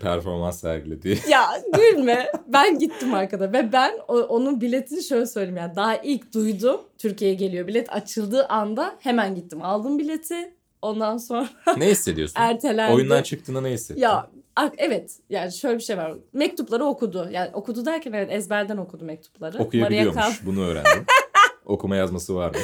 S2: performans sergiledi.
S1: Ya gülme. Ben gittim arkada ve ben o- onun biletini şöyle söyleyeyim yani daha ilk duydum Türkiye'ye geliyor bilet açıldığı anda hemen gittim aldım bileti. Ondan sonra
S2: ne hissediyorsun?
S1: ertelendi.
S2: Oyundan çıktığında ne hissettin?
S1: Ya a- evet yani şöyle bir şey var. Mektupları okudu. Yani okudu derken evet ezberden okudu mektupları. Maria Callas-
S2: Okuyabiliyormuş. Bunu öğrendim. Okuma yazması varmış.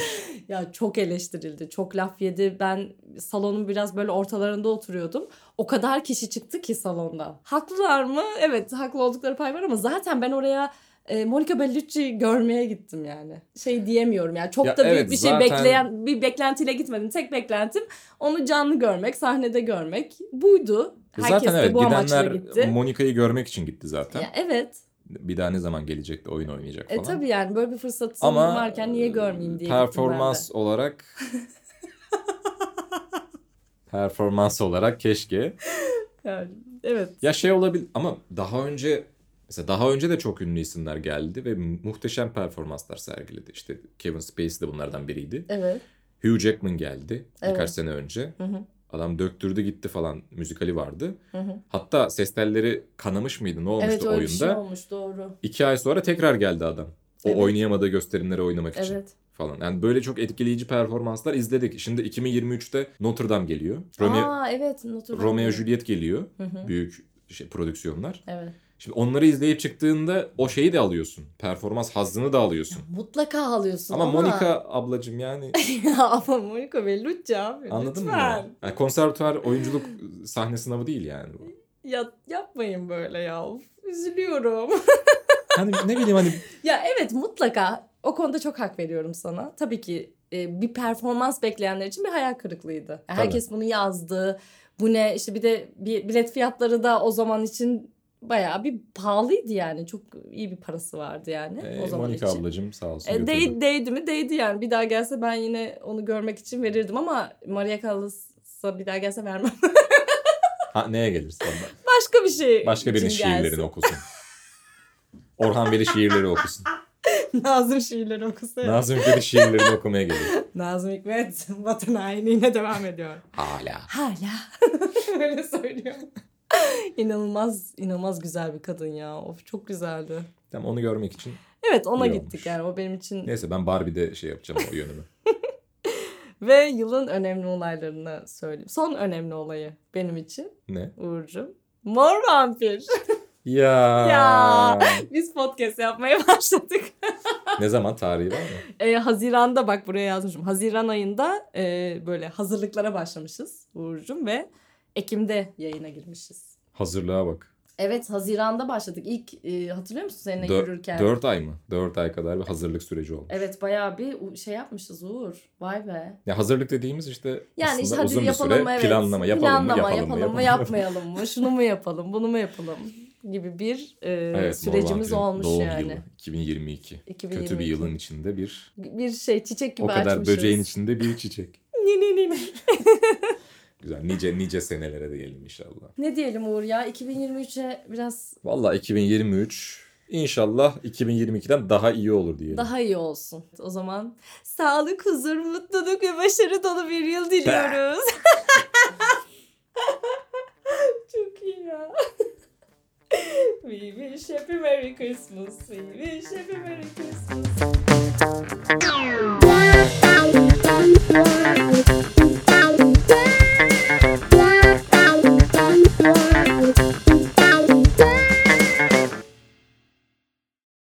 S1: Ya çok eleştirildi. Çok laf yedi. Ben salonun biraz böyle ortalarında oturuyordum. O kadar kişi çıktı ki salonda. Haklılar mı? Evet haklı oldukları pay var ama zaten ben oraya e, Monica Bellucci görmeye gittim yani. Şey diyemiyorum yani çok
S2: Ya
S1: da büyük
S2: evet,
S1: bir şey
S2: zaten-
S1: bekleyen bir beklentiyle gitmedim. Tek beklentim onu canlı görmek, sahnede görmek buydu. Herkes
S2: E, zaten
S1: de
S2: evet
S1: bu amaçla
S2: gidenler
S1: gitti.
S2: Monika'yı görmek için gitti zaten.
S1: Ya evet.
S2: Bir daha ne zaman gelecek de oyun oynayacak
S1: E
S2: falan.
S1: tabii yani böyle bir fırsatım
S2: Ama
S1: varken niye görmeyeyim diye
S2: performans olarak performans olarak keşke.
S1: gittim ben de. Yani, evet.
S2: Ya şey olabilir ama daha önce mesela daha önce de çok ünlü isimler geldi ve muhteşem performanslar sergiledi. İşte Kevin Spacey de bunlardan biriydi.
S1: Evet.
S2: Hugh Jackman geldi birkaç
S1: Evet.
S2: sene önce.
S1: Hı hı.
S2: Adam döktürdü gitti falan müzikali vardı.
S1: Hı hı.
S2: Hatta ses telleri kanamış mıydı ne olmuştu
S1: Evet öyle bir şey
S2: oyunda.
S1: olmuş doğru.
S2: İki ay sonra tekrar geldi adam. O
S1: Evet.
S2: oynayamadığı gösterimleri oynamak için
S1: Evet.
S2: falan. Yani böyle çok etkileyici performanslar izledik. Şimdi 2023'te Notre Dame geliyor. Romeo,
S1: Aa evet Notre Dame.
S2: Romeo Juliet geliyor.
S1: Hı hı,
S2: Büyük şey, prodüksiyonlar.
S1: Evet.
S2: Şimdi onları izleyip çıktığında o şeyi de alıyorsun. Performans hazzını da alıyorsun.
S1: Mutlaka alıyorsun
S2: Ama
S1: ama.
S2: Monica ablacım yani
S1: ama Monica Bellucci abi.
S2: anladın mı?
S1: lütfen.
S2: Yani konservatuar oyunculuk sahne sınavı değil yani bu.
S1: Ya, yapmayın böyle ya. Of, üzülüyorum.
S2: Hani ne bileyim hani
S1: ya evet mutlaka. O konuda çok hak veriyorum sana. Tabii ki e, bir performans bekleyenler için bir hayal kırıklığıydı. Yani
S2: Tabii.
S1: herkes bunu yazdı. Bu ne işte bir de bi- bilet fiyatları da o zaman için bayağı bir pahalıydı yani. Çok iyi bir parası vardı yani
S2: Ee,
S1: o zaman
S2: Monika
S1: için.
S2: ablacığım sağ olsun.
S1: E,
S2: götürdü.
S1: değ- değdi mi değdi yani. Bir daha gelse ben yine onu görmek için verirdim ama Maria Callas'a bir daha gelse vermem.
S2: Ha, neye gelirse. ondan.
S1: Başka bir şey
S2: Başka birinin
S1: için gelsin.
S2: şiirlerini okusun. Orhan Veli şiirleri okusun.
S1: Nazım şiirleri okusa.
S2: Nazım Hikmet'in şiirlerini okumaya gelir.
S1: Nazım Hikmet vatan hainliğine devam ediyor.
S2: Hala.
S1: Hala. Öyle söylüyor. inanılmaz, inanılmaz güzel bir kadın ya. Of çok güzeldi.
S2: Tamam onu görmek için.
S1: Evet ona
S2: İyi
S1: gittik
S2: olmuş.
S1: yani o benim için.
S2: Neyse ben Barbie'de şey yapacağım o yönümü.
S1: Ve yılın önemli olaylarını söyleyeyim. Son önemli olayı benim için
S2: Ne?
S1: Uğur'cum. Mor vampir.
S2: Ya.
S1: Ya. Biz podcast yapmaya başladık.
S2: Ne zaman tarihi var mı?
S1: E, Haziran'da bak buraya yazmışım. Haziran ayında e, böyle hazırlıklara başlamışız Uğur'cum ve Ekim'de yayına girmişiz.
S2: Hazırlığa bak.
S1: Evet Haziran'da başladık. İlk e, hatırlıyor musun seninle
S2: Dö-
S1: yürürken?
S2: Dört ay mı? Dört ay kadar bir hazırlık süreci oldu.
S1: Evet bayağı bir u- şey yapmışız Uğur. Vay be.
S2: Ya hazırlık dediğimiz işte
S1: Yani işte
S2: aslında
S1: hadi
S2: uzun bir
S1: yapalım
S2: süre
S1: mı? Evet.
S2: planlama yapalım mı
S1: Planlama,
S2: yapalım, mı yapalım mı?
S1: yapmayalım mı? Şunu mu yapalım bunu mu yapalım gibi bir e,
S2: Evet,
S1: sürecimiz
S2: Morvan Tülin'in
S1: olmuş
S2: doğum
S1: yani.
S2: Yılı, 2022.
S1: 2022.
S2: Kötü bir yılın içinde bir
S1: Bir şey çiçek gibi
S2: o kadar
S1: açmışız.
S2: böceğin içinde bir çiçek.
S1: Ni, ni, ni, ni.
S2: Güzel nice nice senelere de gelin inşallah.
S1: Ne diyelim Uğur ya 2023'e biraz
S2: Valla 2023 inşallah 2022'den daha iyi olur diyelim.
S1: daha iyi olsun. O zaman sağlık, huzur, mutluluk ve başarı dolu bir yıl diliyoruz. Çok iyi ya. We wish happy Merry Christmas. We wish happy Merry Christmas.